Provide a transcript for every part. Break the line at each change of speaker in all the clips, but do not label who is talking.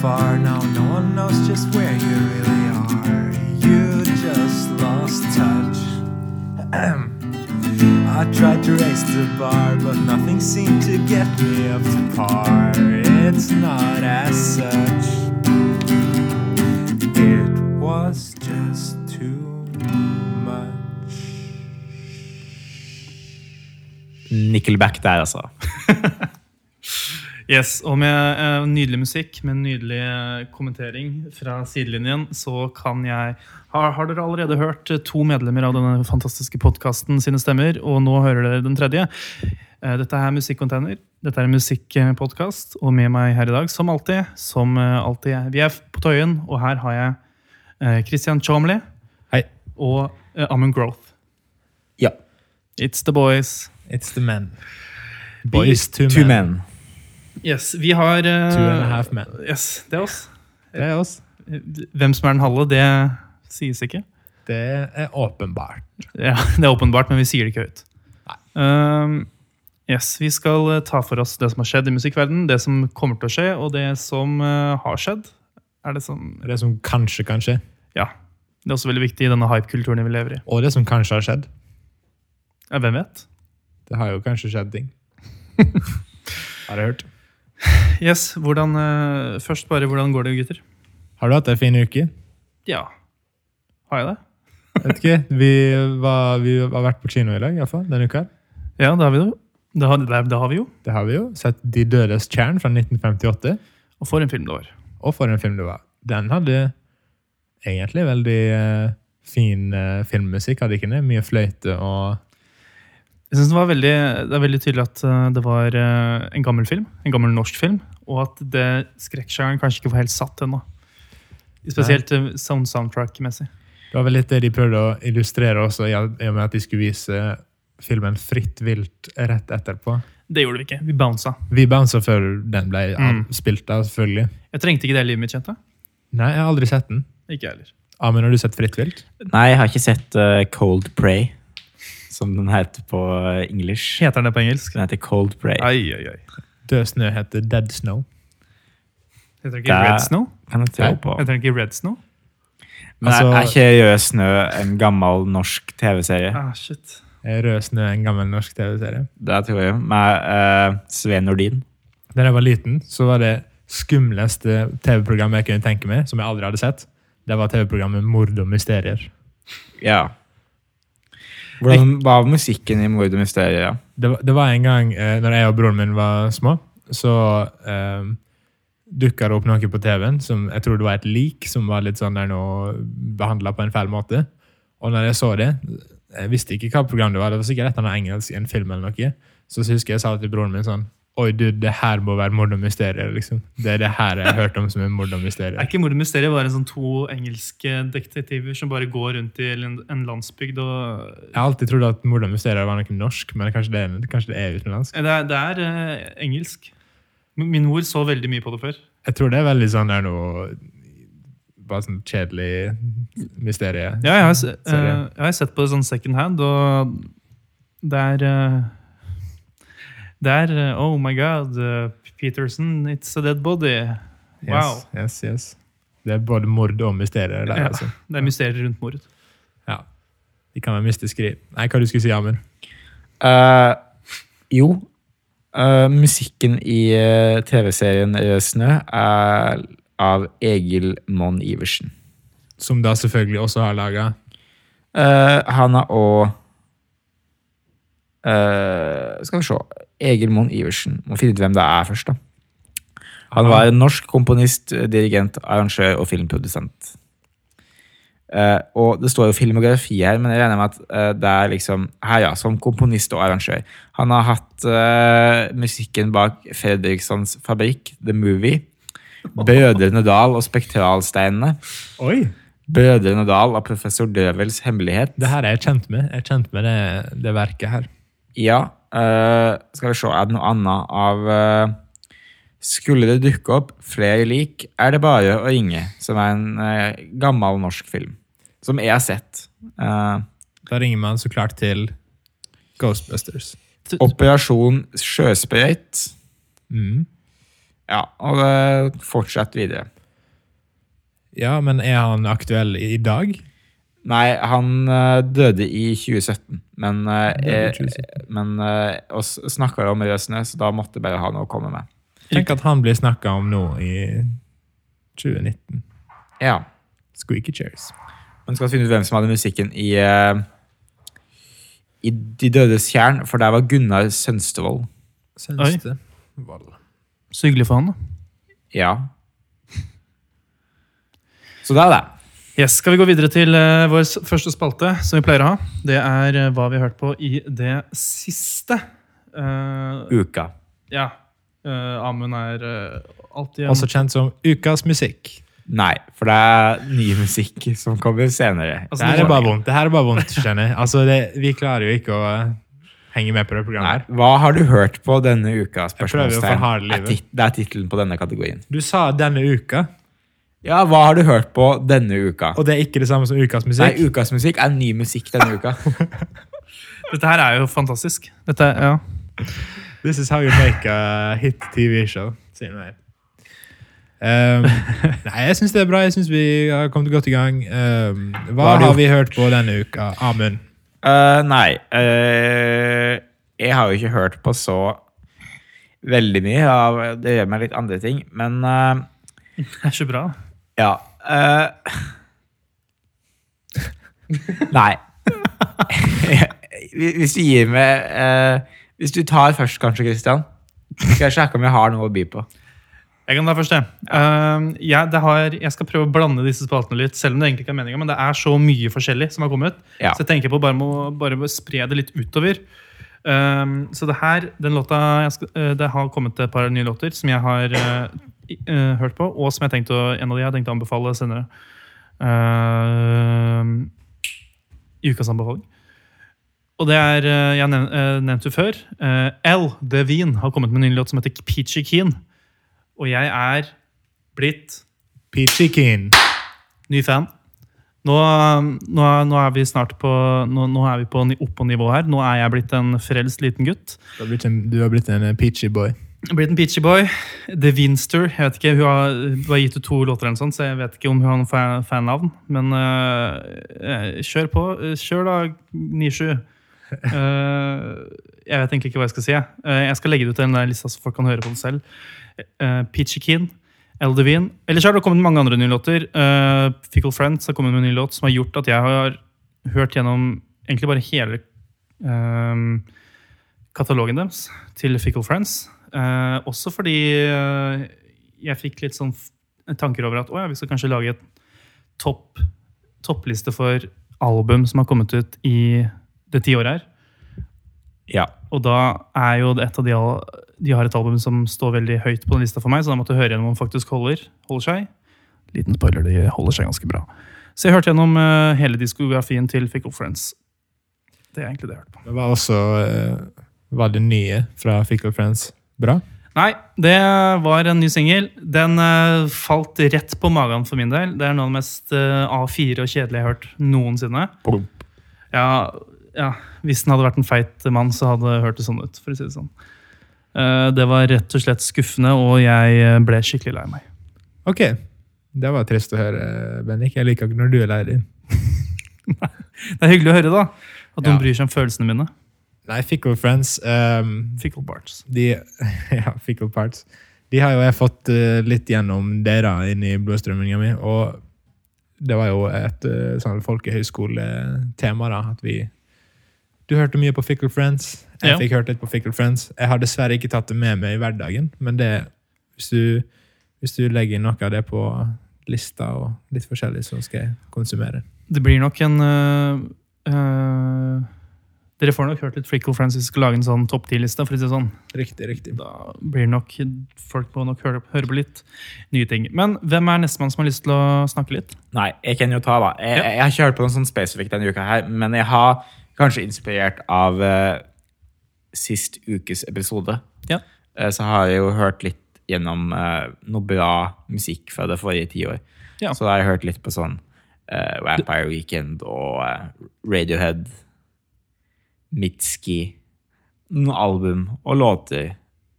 far. Now no one knows just where you really are. You just lost touch. I tried to raise the bar, but nothing seemed to get me up to par. It's not as such. It was just too much.
Nickelback der, altså.
Yes, og med eh, nydelig musikk, med nydelig eh, kommentering fra sidelinjen, så kan jeg Har, har dere allerede hørt eh, to medlemmer av denne fantastiske podkasten sine stemmer, og nå hører dere den tredje? Eh, Dette er Musikkonteiner. Dette er en musikkpodkast, og med meg her i dag, som alltid, som eh, alltid er- Vi er på Tøyen, og her har jeg eh, Christian Chomley
Hei.
og eh, Amund Growth.
Ja.
It's the boys.
It's the men.
Boys
two,
Two
men.
men.
Yes, vi har eh,
Two and a half men.
Yes, det er oss.
Det er oss.
Hvem som er den halve, det sies ikke.
Det er åpenbart.
Ja, Det er åpenbart, men vi sier det ikke høyt. Um, yes, Vi skal eh, ta for oss det som har skjedd i musikkverdenen, det som kommer til å skje, og det som eh, har skjedd. Er det, som,
Det som kanskje kan skje,
ja. det er også veldig viktig i denne hype-kulturen vi lever i.
og det som kanskje har skjedd.
Ja, hvem vet?
Det har jo kanskje skjedd ting. har jeg hørt.
Yes, hvordan, eh, Først bare, hvordan går det, gutter?
Har du hatt ei fin uke?
Ja. Har jeg det?
Vet ikke. Vi, var, vi har vært på kino i dag, iallfall. Denne uka. her.
Ja, det har vi jo. Det har, det, det har vi jo.
Det har vi jo. Sett De dødes tjern fra 1958.
Og for en film det var.
Og for en film det var. Den hadde egentlig veldig eh, fin eh, filmmusikk, hadde ikke den? Mye fløyte og
Jeg synes det, var veldig, det er veldig tydelig at eh, det var eh, en gammel film, en gammel norsk film, og at det skrekksjangeren kanskje ikke var helt satt ennå. Spesielt eh, sound soundtrack-messig.
Det var vel litt det de prøvde å illustrere også, i i og med at de skulle vise filmen fritt vilt rett etterpå.
Det gjorde vi ikke. Vi bounsa.
Vi bounsa før den ble av,
Mm.
spilt av, selvfølgelig.
Jeg trengte ikke det i livet mitt, kjente jeg.
Nei, jeg har aldri sett den.
Ikke jeg heller.
Amund, har du sett Fritt vilt?
Nei, jeg har ikke sett eh, Cold Prey, som den heter på eh, engelsk.
Heter den det på engelsk?
Den heter Cold Prey.
Ai, ai, ai.
Død snø heter Dead Snow.
Heter den
Det
ikke
er-
Red Snow?
Kan jeg tro
Nei.
på.
Heter den ikke Red Snow?
Men er-
Altså-
er ikke Rød snø en gammel norsk TV-serie?
Ah, shit.
Er Rød snø en gammel norsk TV-serie?
Det tror jeg. Med eh, Sven Nordin.
Da jeg var liten, så var det skumleste TV-programmet jeg kunne tenke meg, som jeg aldri hadde sett. Det var TV-programmet Mord og mysterier.
Ja. Hvordan var musikken i Mord og mysterier? da?
det, var- det var en gang eh, når jeg og broren min var små, så eh, dukka det opp noe på TV-en som jeg tror det var et lik som var litt sånn der nå behandla på en feil måte. Og når jeg så det Jeg visste ikke hva program det var. Det var sikkert et eller annet engelsk i en film. eller noe. Så, så husker jeg jeg sa til broren min sånn Oi, du, det her må være mord og mysterier. liksom. Det er det her jeg har hørt om som er mord og mysterier.
Er ikke Mord og mysteriet bare sånn to engelske detektiver som bare går rundt i en en landsbygd og
Jeg har alltid trodd at mord og mysterier var noe norsk, men kanskje det, er- kanskje det er utenlandsk.
Det er, det er eh, engelsk. Min min mor så veldig mye på det før.
Jeg tror det er veldig sånn der noe Bare sånn kjedelig mysterie.
Ja, jeg har, se- eh,
Serie.
jeg har sett på det sånn second hand, og det er eh, Det er eh, Oh my God, eh, Peterson, it's a dead body. Wow.
Yes, yes, yes. Det er både mord og mysterier der,
Ja.
altså.
Det er mysterier rundt mordet.
Ja. De kan være mystiske, de. Nei, hva du skulle si, Amund?
Eh, jo. Eh, musikken i eh, TV-serien Rød snø er av Egil Monn Iversen.
Som da selvfølgelig også har laga
Eh, han er òg eh, Skal vi se Egil Monn Iversen. Må finne ut hvem det er først, da. Han var en norsk komponist, dirigent, arrangør og filmprodusent. Eh, og det står jo filmografi her, men jeg regner med at eh, det er liksom Her, ja, som komponist og arrangør. Han har hatt eh, musikken bak Fredrikssons Fabrikk, The Movie, Brødrene Dal og Spektralsteinene,
Oi!
Brødrene Dal og Professor Døvels Hemmelighet.
Det her er jeg kjent med. Jeg er kjent med det, det verket her.
Ja. eh, skal vi se, er det noe annet av eh, Skulle det dukke opp flere lik, er det bare å ringe. Som er en eh, gammel norsk film. Som jeg har sett. Eh,
Da ringer man så klart til Ghostbusters.
Operasjon Sjøsprøyt.
Mm.
Ja, og det fortsetter videre.
Ja, men er han aktuell i i dag?
Nei, han eh, døde i 2017, men, eh,
Døde i
eh,
2017.
men eh, oss snakka om Røsnes, så da måtte jeg bare ha noe å komme med.
Tenk at han blir snakka om nå i 2019.
Ja,
Squeaky chairs.
Man skal finne ut hvem som hadde musikken i, eh, i De dødes tjern, for der var Gunnar Sønstevold.
Sønste. Vold.
Så hyggelig for han, da.
Ja. Så det er det.
Yes, Skal vi gå videre til eh, vår s- første spalte, som vi pleier å ha? Det er eh, hva vi har hørt på i det siste. Eh,
Uka.
ja. Eh, Amund er eh, alltid en
Også kjent som Ukas musikk.
Nei, for det er ny musikk som kommer senere.
Altså,
Det her er bare vondt, det her er bare vondt, skjønner jeg. Altså, det, vi klarer jo ikke å eh, henge med på det
Nei,
programmet. her.
hva har du hørt på denne uka?
prøver å
Spørsmålstegn.
forharde
Er
livet.
tit- Det er tittelen på denne kategorien.
Du sa denne uka,
Ja, hva har du hørt på denne uka?
og det er ikke det samme som ukas musikk.
Nei, ukas musikk er ny musikk denne uka.
Dette her er jo fantastisk. Dette, er- ja.
This is how you make a hit TV show, sier han her. Um, nei, jeg syns det er bra. Jeg syns vi har kommet godt i gang. Um, hva,
har du
har vi hørt på denne uka? Amund.
Eh, nei. eh, jeg har jo ikke hørt på så veldig mye. Av, det gjør meg litt andre ting. Men eh,
Det er så bra.
ja eh, Nei. hvis du gir meg eh, Hvis du tar først, kanskje, Christian. Skal jeg sjekke om jeg har noe å by på.
Jeg kan ta først, jeg. Ehm, jeg, det har, jeg skal prøve å blande disse spaltene litt, selv om det egentlig ikke er meningen, men det er så mye forskjellig som har kommet.
Ja.
Så jeg tenker på bare må bare må spre det litt utover. Ehm, så det her, den låta jeg skal, eh, Det har kommet et par nye låter som jeg har eh, i- eh, hørt på, og som jeg tenkte å, en av de jeg har tenkt å anbefale senere. Ehm, I ukas anbefaling. Og det er, eh, jeg nev- eh, nevnte jo før, eh, L. Devine har kommet med en ny låt som heter Peachy Keen. Og jeg er blitt
Peachy Keen.
ny fan. Nå, nå, nå er vi snart på Nå, nå er vi på ni- opp på nivå her. Nå er jeg blitt en frelst liten gutt.
Du har blitt en, du har blitt en eh, peachy boy.
Blitt en peachy boy. The Winster. Jeg vet ikke, Hun har bare gitt ut to låter, eller noe sånt, så jeg vet ikke om hun har noe fa- fannavn. Men eh, eh, kjør på. Eh, Kjør, da, 97. Eh, jeg vet egentlig ikke hva jeg skal si. jeg. Eh, jeg skal legge det ut i den der lista, så folk kan høre på det selv. Uh, Peachy Keen, Eldevin. Ellers har det kommet mange andre nye låter. Eh, Fickle Friends har kommet med en ny låt som har gjort at jeg har hørt gjennom egentlig bare hele eh, katalogen deres til Fickle Friends. Eh, også fordi eh, jeg fikk litt sånn f- tanker over at å ja, vi skal kanskje lage et topp, toppliste for album som har kommet ut i det tiåret her.
Ja.
Og da er jo det et av de al- De har et album som står veldig høyt på den lista for meg, så da måtte jeg høre gjennom om den faktisk holder, holder seg. Liten spoiler, de holder seg ganske bra. Så jeg hørte gjennom eh, hele diskografien til Fickle Friends. Det er egentlig det jeg hørte på.
Det var også eh, Var det nye fra Fickle Friends bra?
Nei, det var en ny singel. Den eh, falt rett på magen for min del. Det er noe av det mest eh, A4 og kjedelige jeg har hørt noensinne. Ja, ja, hvis den hadde vært en feit mann, så hadde det hørt det sånn ut. for å si Det sånn. Eh, det var rett og slett skuffende, og jeg eh, ble skikkelig lei meg.
Ok. Det var trist å høre, Bendik. Jeg liker ikke når du er lei deg.
Det er hyggelig å høre da, at noen
Ja.
bryr seg om følelsene mine.
Nei, Fickle Friends ehm,
Fickle Barts.
de, ja, Fickle Parts. De har jo jeg fått eh, litt gjennom dere inn i blodstrømminga mi, og det var jo et eh, sånn folkehøyskoletema, da, at vi Du hørte mye på Fickle Friends. Jeg
Ja.
fikk hørt litt på Fickle Friends. Jeg har dessverre ikke tatt det med meg i hverdagen, men det Hvis du, hvis du legger noe av det på lista og litt forskjellig, så skal jeg konsumere.
Det blir nok en eh, eh, Dere får nok hørt litt Fickle Friends hvis vi skal lage en sånn topp 10-liste. for å si det sånn.
Riktig, riktig.
da blir nok folk må nok høre, høre på litt nye ting. Men hvem er nestemann som har lyst til å snakke litt?
Nei, jeg kan jo ta da. Jeg, jeg har ikke hørt på noe sånn spesifikt denne uka her, men jeg har kanskje inspirert av eh, sist ukes episode.
Ja.
Eh, så har jeg jo hørt litt gjennom eh, noe bra musikk fra det forrige tiår.
Ja.
Så da har jeg hørt litt på sånn eh, Vampire Weekend og eh, Radiohead, Mitski, noen album og låter.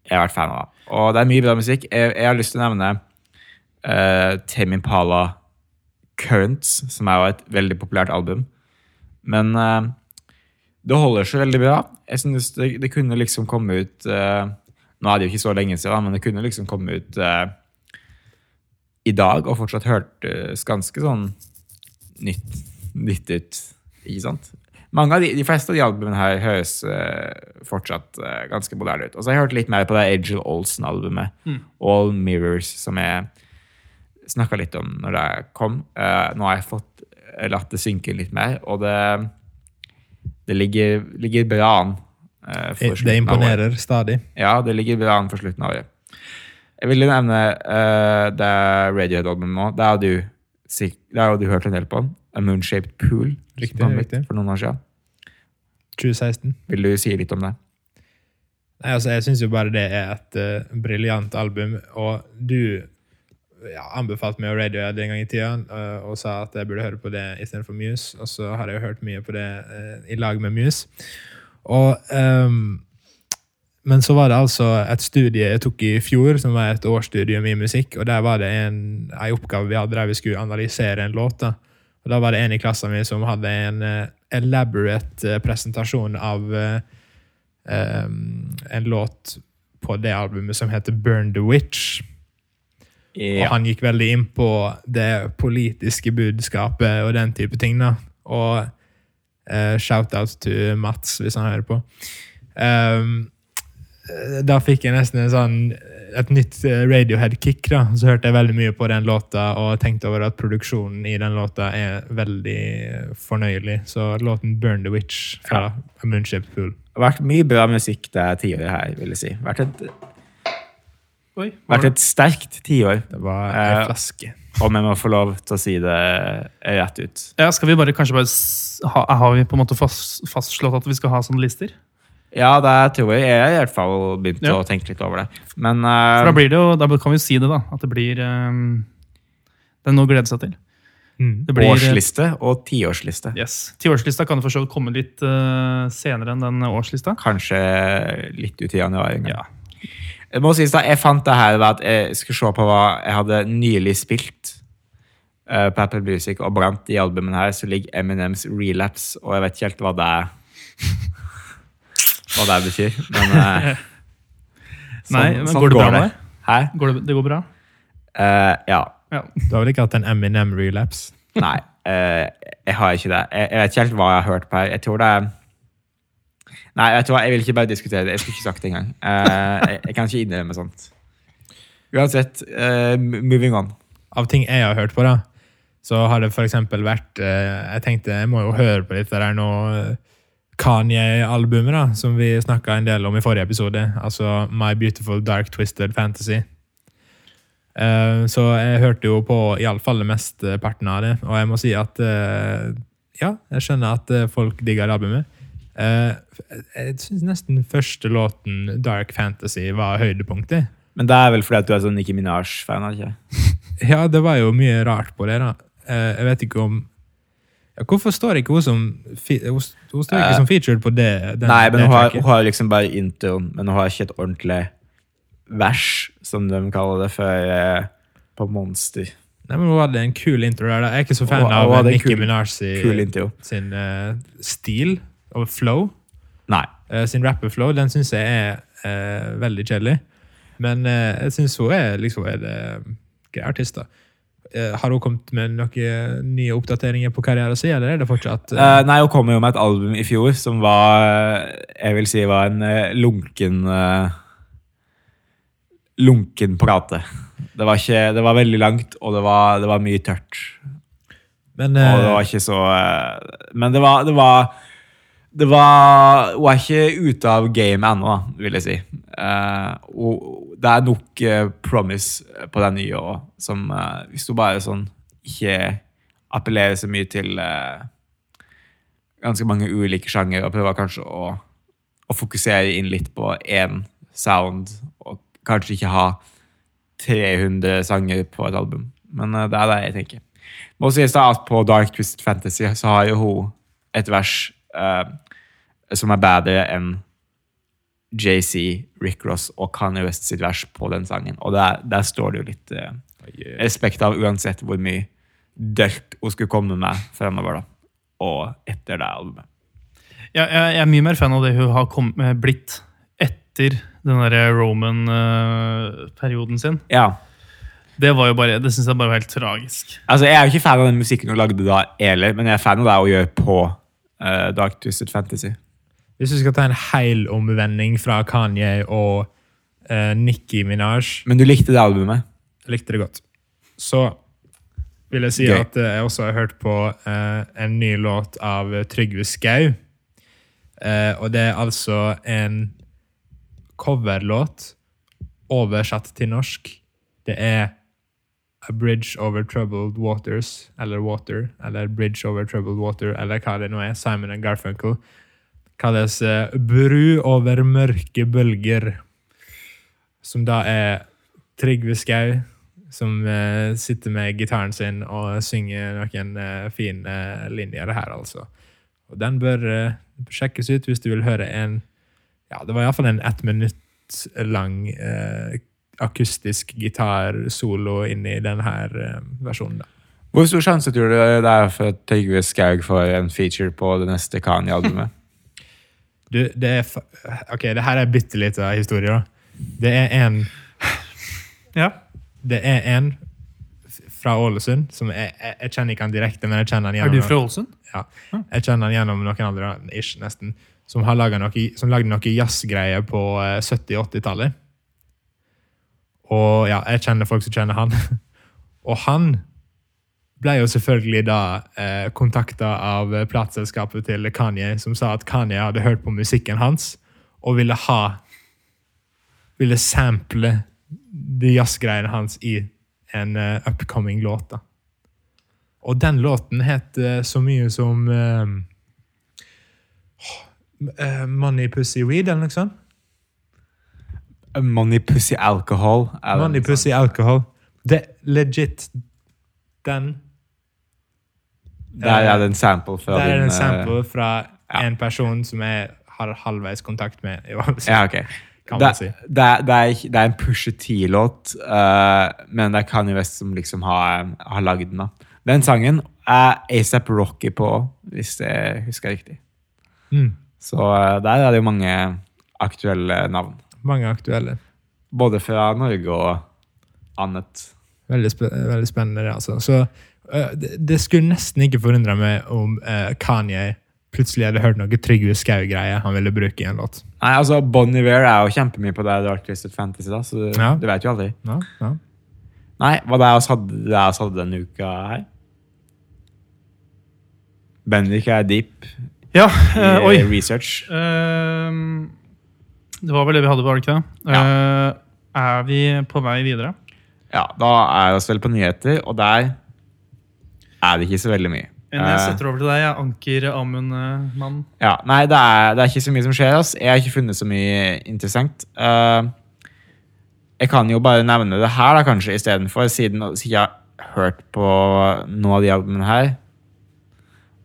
jeg har vært fan av. Og det er mye bra musikk. Jeg, jeg har lyst til å nevne uh, Tame Impala Currents, som er jo et veldig populært album. Men eh, det holder seg veldig bra. Jeg synes det, det kunne liksom komme ut eh, Nå er det jo ikke så lenge siden, da, men det kunne liksom komme ut eh, i dag og fortsatt hørtes ganske sånn nytt, nytt ut. Ikke sant? Mange av de, de fleste av de albumene her høres eh, fortsatt eh, ganske moderne ut. Og så har jeg hørt litt mer på det Agil Olsen-albumet, All Mirrors, som jeg snakka litt om når det kom. Eh, nå har jeg fått eh, latt det synke litt mer, og det, det ligger, ligger bra an. eh, for slutten av
Det
året.
imponerer stadig.
Ja, det ligger bra an for slutten av året. Jeg ville nevne eh, det Radiohead-albumet nå. Det har du, sik- det har jo du hørt en del på. A Moonshaped Pool. som
Riktig,
kom ut
riktig.
For noen år siden.
2016.
Vil du si litt om det?
Nei, altså, jeg syns jo bare det er et eh, briljant album, og du ja, anbefalte meg å Radiohead en gang i tida eh, og sa at jeg burde høre på det istedenfor Muse, og så har jeg jo hørt mye på det eh, i lag med Muse. Og ehm, Men så var det altså et studie jeg tok i fjor, som var et årsstudium i musikk, og der var det en, en oppgave vi hadde der vi skulle analysere en låt. da. Og da var det en i klassen min som hadde en eh, elaborate eh, presentasjon av eh, ehm, en låt på det albumet som heter Burn the Witch. Og han gikk veldig inn på det politiske budskapet og den type ting. da. Og eh, shout-out til Mats, hvis han hører på. Ehm, eh, da fikk jeg nesten en sånn, et nytt eh, Radiohead-kick. da. Så hørte jeg veldig mye på den låta og tenkte over at produksjonen i den låta er veldig eh, fornøyelig. Så låten 'Burn the Witch' fra
Ja.
A Moonshaped Pool.
Det har vært mye bra musikk det tiåret her, vil jeg si. Vært et,
Oi, var
vært
det-
et sterkt tiår,
Det var en
Eh,
flaske.
om jeg må få lov til å si det rett ut.
ja, skal vi bare kanskje bare s- ha, Har vi på en måte fast, fastslått at vi skal ha sånne lister?
Ja, det tror jeg. Jeg har i hvert fall begynt
Ja.
å tenke litt over det. Men
For
eh,
Da blir det jo, da kan vi jo si det, da. At det blir ehm, Det er noe å glede seg til.
Mm.
Det blir, eh,
årsliste og tiårsliste.
Yes. Tiårslista kan jo for så vidt komme litt eh, senere enn den årslista.
Kanskje litt ut i januar. en gang.
Ja.
Jeg må sies da, jeg fant det her ved at jeg skulle se på hva jeg hadde nylig spilt eh, på Apple Music, og blant de albumene her så ligger Eminems Relapse, og jeg vet ikke helt hva det er. Hva det betyr, men eh, sånn-
Nei, men Sånn- går det bra med deg?
Hæ?
Går det, det går bra?
Eh, ja.
Ja.
Du har vel ikke hatt en Eminem relapse?
Nei, eh, jeg har ikke det. Jeg, jeg vet ikke helt hva jeg har hørt på her. Jeg tror det er Nei, vet du hva? jeg vil ikke bare diskutere det. Jeg skulle ikke sagt det engang. Eh, jeg, jeg kan ikke innrømme sånt. Uansett, eh, moving on.
av ting jeg har hørt på, da, så har det f.eks. vært eh, Jeg tenkte jeg må jo høre på dette der nå eh, Kanye-albumet, da, som vi snakka en del om i forrige episode. Altså My Beautiful Dark Twisted Fantasy. Eh, så jeg hørte jo på iallfall mesteparten av det, og jeg må si at eh, ja, jeg skjønner at eh, folk digger albumet. Eh, jeg syns nesten første låten, Dark Fantasy, var høydepunktet.
Men det er vel fordi at du er sånn Nicki Minaj-fan? er det ikke?
Ja, det var jo mye rart på det, da. Eh, Jeg vet ikke om ja, Hvorfor står ikke hun som fi- Hun s- hun står ikke
Eh,
som featured på det? Den,
Nei, men
det
hun har,
tracket?
hun har liksom bare introen, men hun har ikke et ordentlig vers, som de kaller det, før eh, på Monster.
Nei, men hun hadde en kul intro der. da. Jeg er ikke så fan
Hun- hun
av
hadde en
Nicki
kul-
Minaj si-
Kul intro.
sin eh, stil og flow.
Nei.
eh, sin rapper-flow. Den syns jeg er eh, veldig kjedelig. Men eh, jeg syns hun er liksom en eh, grei artist, da. Eh, har hun kommet med noen nye oppdateringer på karrieren sin, eller er det fortsatt eh,
Eh, nei, hun kom jo med et album i fjor som var Jeg vil si var en eh, lunken eh, Lunken plate. Det var, ikke, det var veldig langt, og det var, det var mye tørt.
men,
Og det
eh,
var ikke så eh, Men det var, det var det var, Hun er ikke ute av gamet ennå, da, vil jeg si. Eh, og det er nok eh, promise på den nye òg, som eh, Hvis du bare sånn ikke appellerer så mye til eh, ganske mange ulike sjanger, og prøver kanskje å, å fokusere inn litt på én sound, og kanskje ikke ha 300 sanger på et album. Men eh, det er det jeg tenker. Må sies da at på Dark Twisted Fantasy så har jo hun et vers eh, som er bedre enn JC, Rick Ross og Kanye West sitt vers på den sangen. Og der, der står det jo litt eh, respekt av uansett hvor mye dølt hun skulle komme med fremover, da. Og etter det albumet.
Ja, jeg, jeg er mye mer fan av det hun har kom, eh, blitt etter den der Roman-perioden sin.
Ja.
Det var jo bare, det syns jeg bare var helt tragisk.
Altså, jeg er jo ikke fan av den musikken hun lagde da heller, men jeg er fan av det hun gjør på eh, Dark Twisted Fantasy.
Hvis du skal ta en hel omvending fra Kanye og eh, Nicki Minaj
Men du likte det albumet?
Jeg likte det godt. Så vil jeg si
Gøy.
at eh, jeg også har hørt på eh, en ny låt av Trygve Skau. Eh, og det er altså en coverlåt oversatt til norsk. Det er A Bridge Over Troubled Waters, eller Water, eller Bridge Over Troubled Water, eller hva det nå er. Simon and Garfunkel. Kalles eh, Bru over mørke bølger. Som da er Trygve Skau, som eh, sitter med gitaren sin og synger noen eh, fine linjer her, altså. Og den bør eh, sjekkes ut hvis du vil høre en Ja, det var iallfall en ett minutt lang eh, akustisk gitarsolo inni denne eh, versjonen, da.
Hvor stor sjanse tror du det er for at Trygve Skaug får en feature på det neste Kanye-albumet?
Du, det er fa OK, det her er bitte litt av historie, da. Det er en
Ja.
Det er en fra Ålesund som jeg, jeg, jeg kjenner ikke han direkte, men jeg kjenner han
Er
gjennom
du fra Ålesund?
Ja. Jeg kjenner han gjennom noen andre, ish, nesten, som har laget noe, som lagde noe jazzgreier på eh, 70-80-tallet. Og ja, jeg kjenner folk som kjenner han. Og han ble jo selvfølgelig da eh, kontakta av eh, plateselskapet til Kanye, som sa at Kanye hadde hørt på musikken hans og ville ha Ville sample de jazzgreiene hans i en eh, upcoming låt. da. Og den låten het eh, så mye som eh, eh, Money Pussy Weed, eller noe sånt.
Money Pussy Alcohol. er sånn. det
Money
noe sånt?
Pussy Alcohol. Det er legit den.
Der er det en sample fra
Der er
din, eh,
det en sample fra
ja.
en person som jeg har halvveis kontakt med. i Ålesund,
Ja, ok.
kan
Det,
man si.
det, er- det, er, ikke- det er en Pusha T-låt, eh, men det er Kanye West som liksom har, har lagd den. da. Den sangen er ASAP Rocky på, hvis jeg husker riktig.
Mm.
Så eh, der er det jo mange aktuelle navn.
Mange aktuelle.
Både fra Norge og annet.
Veldig, spe veldig spennende, det, altså. Så øh, det, det skulle nesten ikke forundre meg om øh, Kanye plutselig hadde hørt noe Trygve Skau-greie han ville bruke i en låt.
Nei, altså, Bon Iver er jo kjempemye på det Dark Twisted Fantasy, da, så du,
Ja.
du vet jo aldri.
Ja, ja.
Nei, hva det er oss hadde, det er oss hadde denne uka her? Bendik er deep
Ja.
i
eh, oi.
research.
Ehm, det var vel det vi hadde, var det ikke det? Eh, er vi på vei videre?
Ja, da er vi oss vel på nyheter, og der er det ikke så veldig mye.
Enn jeg
Eh,
setter over til deg, jeg anker Amund-mann.
ja, nei, det er, det er ikke så mye som skjer. Ass. Jeg har ikke funnet så mye interessant. Eh, jeg kan jo bare nevne det her da, kanskje, istedenfor, siden siden jeg har hørt på noen av de albumene her.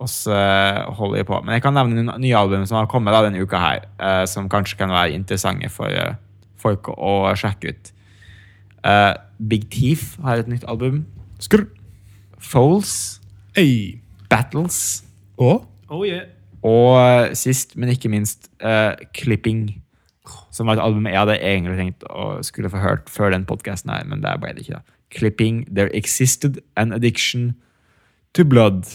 Og så holder jeg på. Men jeg kan nevne noen nye album som har kommet da, denne uka her, eh, som kanskje kan være interessante for eh, folk å sjekke ut. Eh, Big Thief har et nytt album. Skrr. Foals.
Øy.
Battles.
Og
Oh, yeah.
Og eh, sist, men ikke minst, eh, Clipping. Som var et album jeg hadde egentlig tenkt å skulle få hørt før den podkasten her, men der ble det ikke. da. Clipping, There Existed an Addiction to Blood.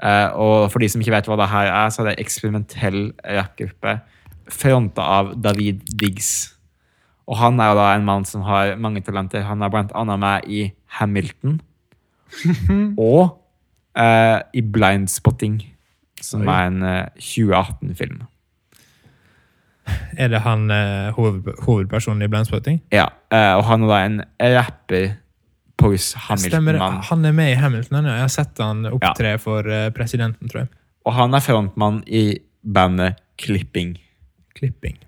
Eh, og for de som ikke vet hva det her er, så er det en eksperimentell rappgruppe fronta av David Diggs. Og han er jo da en mann som har mange talenter. Han er blant annet med i Hamilton. og eh, i Blindspotting, som
Oi.
er en eh, 2018-film.
er det han eh, hoved, hovedpersonen i Blindspotting?
Ja, eh, og han er da en rapper Pose
Stemmer det.
Hamilton-mann.
Han er med i Hamilton. Ja. Jeg har sett han opptre for eh, presidenten, tror jeg.
Og han er frontmann i bandet Clipping.
Klipping.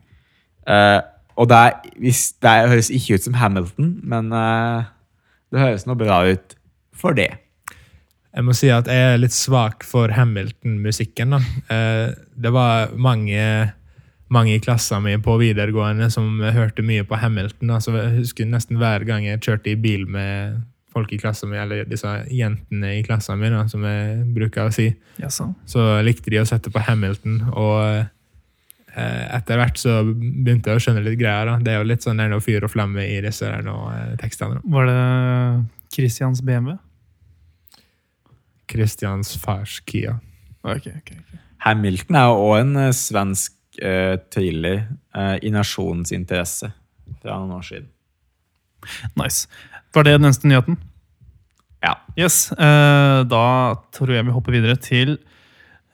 Eh, og det, er, hvis, det er, høres ikke ut som Hamilton, men eh, det høres nå bra ut for det.
Jeg må si at jeg er litt svak for Hamilton-musikken. da. Eh, Det var mange, mange i klassen min på videregående som hørte mye på Hamilton. Altså, jeg husker nesten hver gang jeg kjørte i bil med folk i klassen min, eller disse jentene i klassen min, da, som jeg bruker å si,
Jaså.
så likte de å sette på Hamilton. Og eh, etter hvert så begynte jeg å skjønne litt greier. Da. Det er jo litt sånn der noe fyr og flamme i disse der noe, eh, tekstene. da.
Var det Christians BMW?
Christians fars Kia.
Ok, ok, ok.
Hamilton er jo òg en eh, svensk eh, thriller eh, i nasjonens interesse fra noen år siden.
Nice. Var det den eneste nyheten?
Ja.
Yes, eh, Da tror jeg vi hopper videre til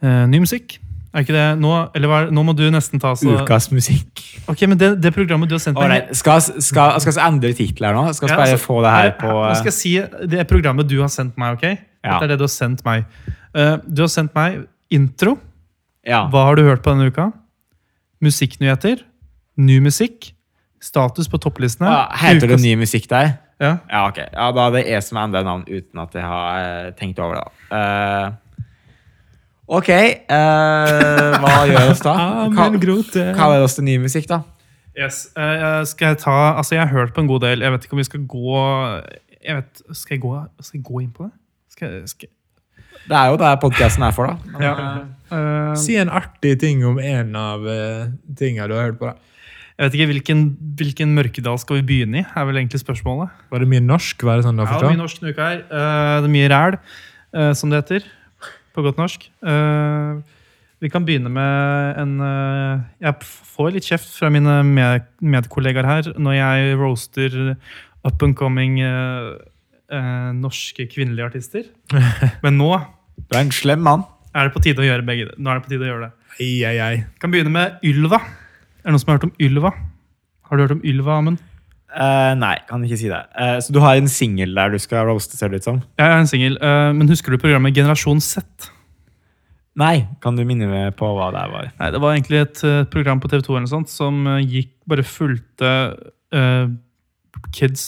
eh, ny musikk. Er ikke det nå? Eller hva er, nå må du nesten ta så
Ukas musikk.
Ok, men det, det programmet du har sendt meg
Alright, skal vi skal, skal vi endre tittel her nå? Skal vi
Ja,
bare
altså,
få det her på
Nå skal
eh,
jeg si det programmet du har sendt meg, ok?
Ja.
Dette er det du har sendt meg. Eh, du har sendt meg intro.
Ja.
Hva har du hørt på denne uka? Musikknyheter. Ny musikk. Status på topplistene.
Ja, Heter det
Ukas-
ny musikk der?
Ja.
Ja, ok. Ja, da er det jeg som endrer navn uten at jeg har eh, tenkt over det. da. Eh, ok, eh, hva gjør oss da? Hva,
Amen, grote.
hva er oss til ny musikk, da?
Yes. eh, skal jeg ta Altså, jeg har hørt på en god del. Jeg vet ikke om vi skal gå Jeg vet, Skal jeg gå, skal jeg gå inn på det? Skal, jeg- skal,
Det er jo det podkasten er for, da. Men,
Ja. eh,
Si en artig ting om en av uh, tinga du har hørt på. da.
jeg vet ikke hvilken, hvilken mørkedal skal vi begynne i, er vel egentlig spørsmålet.
Var det mye norsk? Var det sånn du har
Ja, det er mye
forstått?
norsk denne uka her. Eh, det er mye ræl, eh, som det heter. På godt norsk. Eh, vi kan begynne med en eh, Jeg får litt kjeft fra mine med medkollegaer her når jeg roaster up and coming eh, eh, norske kvinnelige artister. Men nå er
Du er en slem mann.
det på tide å gjøre begge. Nå er det på tide å gjøre det.
Ei, ei, ei.
Vi kan begynne med Ylva. Er det noen som har hørt om Ylva? Har du hørt om Ylva, Amund?
Eh, nei, kan ikke si det. Eh, så du har en singel der du skal roaste, ser det ut som?
Jeg er en singel, eh, men husker du programmet Generasjon Z?
Nei. Kan du minne meg på hva det her var?
Nei, det var egentlig et eh, program på TV 2 eller noe sånt, som eh, gikk, bare fulgte eh, kids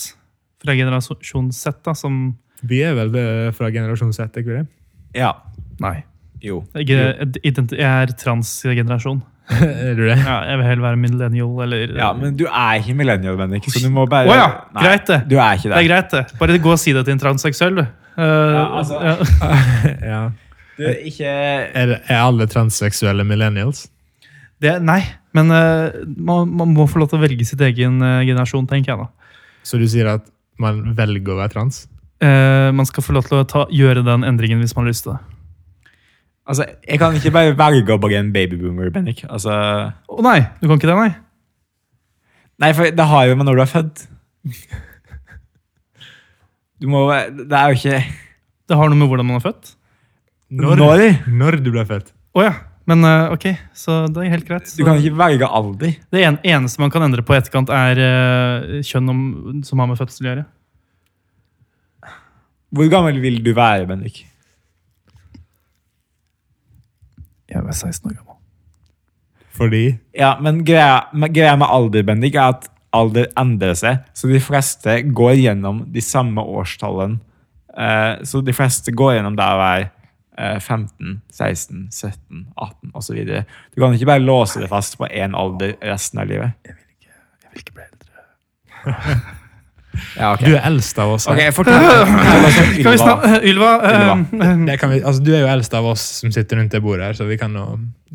fra generasjon Z, da, som
Vi er vel eh, fra generasjon Z, er ikke vi det?
Ja.
Nei.
Jo.
Jeg er, identi- jeg er transgenerasjon.
er du det?
Ja, jeg vil heller være millennial eller eh,
Ja, men du er ikke millennial, Bendik, så du må bare
Å ja, greit det.
Du er ikke
Det er
det.
greit, det. Bare gå og si det til en transseksuell, du. Eh,
altså.
ja.
ja.
Du er ikke
Er, er alle transseksuelle millennials?
det, nei, men eh, man, man må få lov til å velge sitt egen eh, generasjon, tenker jeg da.
Så du sier at man velger å være trans?
Eh, man skal få lov til å ta, gjøre den endringen hvis man har lyst til det.
Altså, jeg kan ikke bare velge å bli en babyboomer, Bendik. Altså
Å nei, du kan ikke det, nei.
Nei, for det har jo med når du er født. Du må Det er jo ikke
Det har noe med hvordan man er født.
Når?
Når du ble født?
Å ja. Men eh, ok, så det er helt greit.
Du
Så
kan ikke velge alder.
Det en, eneste man kan endre på i etterkant, er eh, kjønn om, som har med fødsel å gjøre.
Hvor gammel vil du være, Bendik?
Jeg er 16 år gammel.
Fordi
Ja, men greia, men greia med alder, Bendik, er at alder endrer seg. Så de fleste går gjennom de samme årstallene. Eh, så de fleste går gjennom det å være eh, 15, 16, 17, 18 osv. Du kan ikke bare låse det fast på én alder resten av livet.
Jeg vil ikke bli eldre.
Ja, ok.
du er eldst av oss. her.
Ok, fortell fortell oss om
Kan vi
Ylva.
snakke Ylva. eh,
Det kan vi, altså, du er jo eldst av oss som sitter rundt det bordet her, så vi kan nå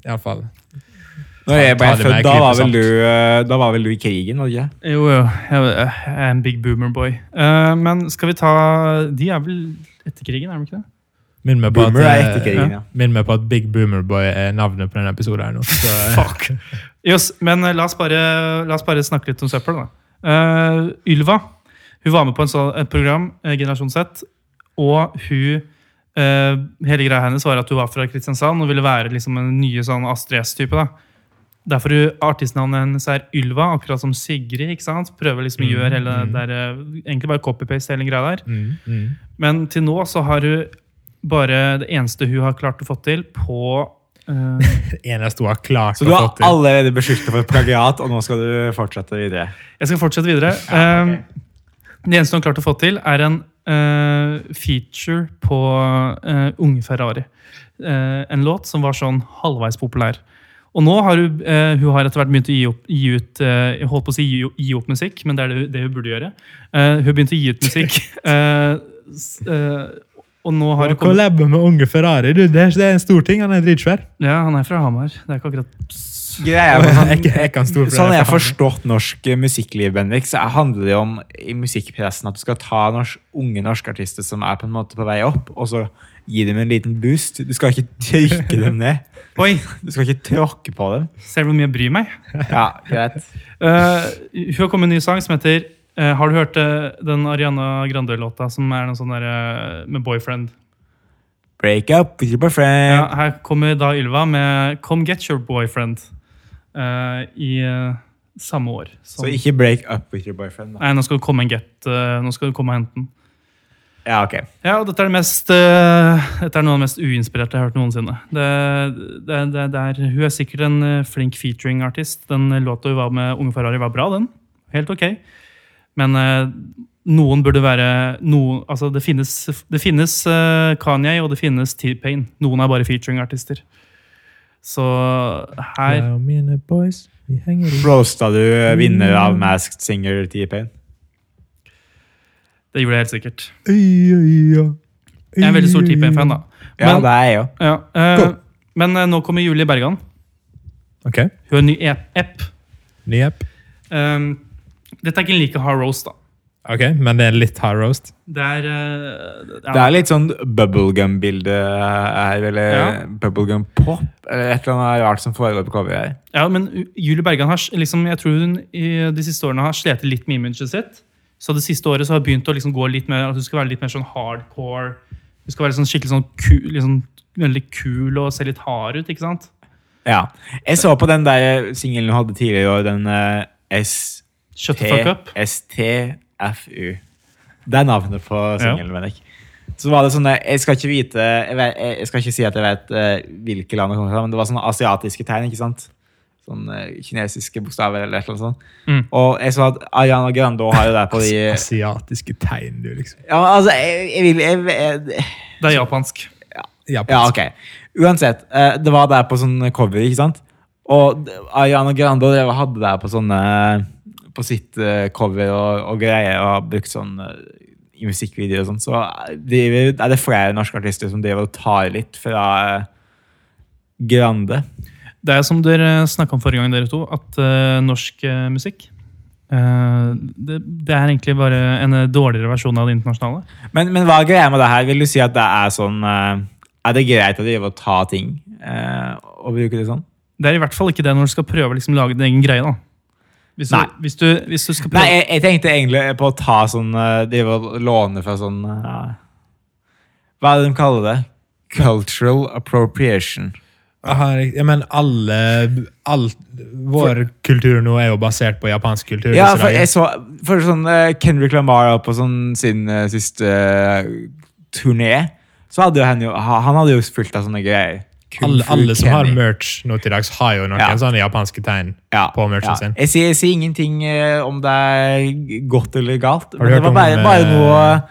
iallfall
Når jeg ble
Ta det med
født, da var, vel
klype
du, eh, da var vel du i krigen, var du ikke?
jo, jo. Jeg, jeg er en big boomer boy. Eh, men skal vi ta De er vel etter krigen, er de ikke det?
Minn meg, på at, eh,
Boomer er etter krigen, ja.
minn meg på at Big Boomer Boy er navnet på denne episoden her nå. Så, eh,
Fuck. Jøss, men eh, la oss, bare, la oss bare snakke litt om søppel, da. Eh, Ylva hun var med på en sånn, et program, eh, Generasjon Z, og hun eh, Hele greia hennes var at hun var fra Kristiansand og ville være liksom en nye sånn Astrid S-type. da. Derfor hun- artistnavnet hennes er Ylva, akkurat som Sigrid. ikke sant? Prøver liksom å gjøre hele det der, eh, Egentlig bare copy-paste hele greia der.
mm, mm.
Men til nå så har hun bare det eneste hun har klart å få til på eh,
Eneste hun har klart
Så du
å
har
få til.
allerede beskyldt for plagiat, og nå skal du fortsette videre.
Jeg skal fortsette videre.
Ja,
Eh, Det eneste hun har klart å få til, er en eh, feature på eh, Unge Ferrari. Eh, en låt som var sånn halvveis populær. Og nå har hun, eh, hun har etter hvert begynt å gi, opp, gi ut eh, Jeg holdt på å si gi, gi opp musikk, men det er det, hun- det hun burde gjøre. Eh, hun begynte å gi ut musikk. eh, s- eh, og nå har hun kommet
Collabbe med unge Ferrari, du, det, er, det er en stor ting. Han er dritsvær.
Ja, han er fra Hamar. Det er ikke akkurat
Greia er
Jeg er
sånn,
ikke- jeg er ikke en stor
sånn
Ferrari.
jeg har forstått norsk eh, musikkliv, Benvik, så handler det om i musikkpressen at du skal ta norsk, unge norske artister som er på en måte på vei opp, og så gi dem en liten boost. Du skal ikke trykke dem ned.
Oi!
Du skal ikke tråkke på dem.
Ser du hvor mye jeg bryr meg?
Ja, greit.
Eh, hun har kommet med en ny sang som heter eh, Har du hørt eh, den Ariana Grande-låta som er noe sånn der, eh, med boyfriend?
Break up with your boyfriend.
Ja, her kommer da Ylva med Come Get Your Boyfriend eh, i eh, samme år. som-
Så ikke break up with your boyfriend. Da.
Nei, nå skal det komme en get. eh, nå skal det komme og hente den.
Ja, ok.
Ja, og dette er, det mest, eh, dette er noe av det mest uinspirerte jeg har hørt noensinne. Det, det, det, det er, hun er sikkert en eh, flink featuring-artist. Den eh, låta hun var med Unge Ferrari, var bra, den. Helt ok. Men eh, noen burde være noen, altså Det finnes, det finnes eh, Kanye og det finnes T-Pain. Noen er bare featuring-artister. Så her
Ja, mine boys, vi henger i.
Roasta du eh, vinner av Masked Singer T-Pain?
Det gjorde jeg helt sikkert.
Øy, øy, øy.
Jeg er en veldig stor T-Pain-fan, da.
Ja,
Men-
det er jeg òg.
Ja, eh,
Go.
men eh, nå kommer Julie Bergan.
Ok,
Hun har en ny ep- app.
ny app.
Um, dette er ikke en like hard roast, da.
Ok, men det er litt high roast.
Det er, eh, ja,
Det er litt sånn bubblegum-bilde her, eller
Ja.
bubblegum-pop, eller et eller annet rart som foregår på coveret her.
ja, men U- Julie Bergan har s- liksom, jeg tror hun i de siste årene har slitt litt med imaget sitt. Så det siste året så har hun begynt å liksom gå litt mer, at hun skal være litt mer sånn hardcore. Hun skal være sånn skikkelig sånn ku, liksom, veldig kul og se litt hard ut, ikke sant?
Ja. Jeg så på den der singelen hun hadde tidligere i år, den eh,
Shut the fuck up.
ST STFU. Det er navnet på singelen, mener jeg. Så var det sånne, jeg skal ikke vite, jeg, vet, jeg skal ikke si at jeg vet eh, hvilke land det kommer fra, men det var sånne asiatiske tegn, ikke sant? Sånn eh, kinesiske bokstaver eller et eller annet sånt.
Mm.
Og jeg så at Ariana Grande også har jo det på de...
Asiatiske tegn, du, liksom.
Ja, men altså, jeg, jeg vil... Jeg, jeg,
Det er japansk.
Ja, ok. Uansett, eh, det var der på sånn cover, ikke sant? Og d- Ariana Grande drev og hadde det her på sånne På sitt eh, cover og, og greier og har brukt sånn eh, i musikkvideoer og sånn, så driver, er det flere norske artister som driver og tar litt fra eh, Grande.
Det er som dere snakka om forrige gang, dere to, at eh, norsk eh, musikk eh, det, det er egentlig bare en eh, dårligere versjon av det internasjonale.
Men, men hva er greia med det her? Vil du si at det er sånn eh, Er det greit å drive og ta ting eh, og bruke det sånn?
Det er i hvert fall ikke det når du skal prøve å liksom, lage din egen greie. da. Hvis du,
Nei.
Hvis du, hvis du skal prøve...
Nei, jeg, jeg tenkte egentlig på å ta sånn eh, Drive og låne fra sånn eh, Hva er det de kaller det? Cultural appropriation.
Har- Ja, men alle alt, Vår kultur nå er jo basert på japansk kultur.
Ja,
disse
for
dager.
jeg så for sånn eh, Kendrick Lamar var på sånn sin eh, siste eh, turné, så hadde jo han jo ha- Han hadde jo fulgt av sånne greier. Kung
alle,
Fu
alle som har
Kenny.
merch nå til dags, har jo noen
Ja.
sånne japanske tegn
Ja,
på merchen
ja.
sin.
Jeg sier, jeg sier ingenting eh, om det er godt eller galt.
du
Men det
hørt
var
om,
bare, bare,
eh,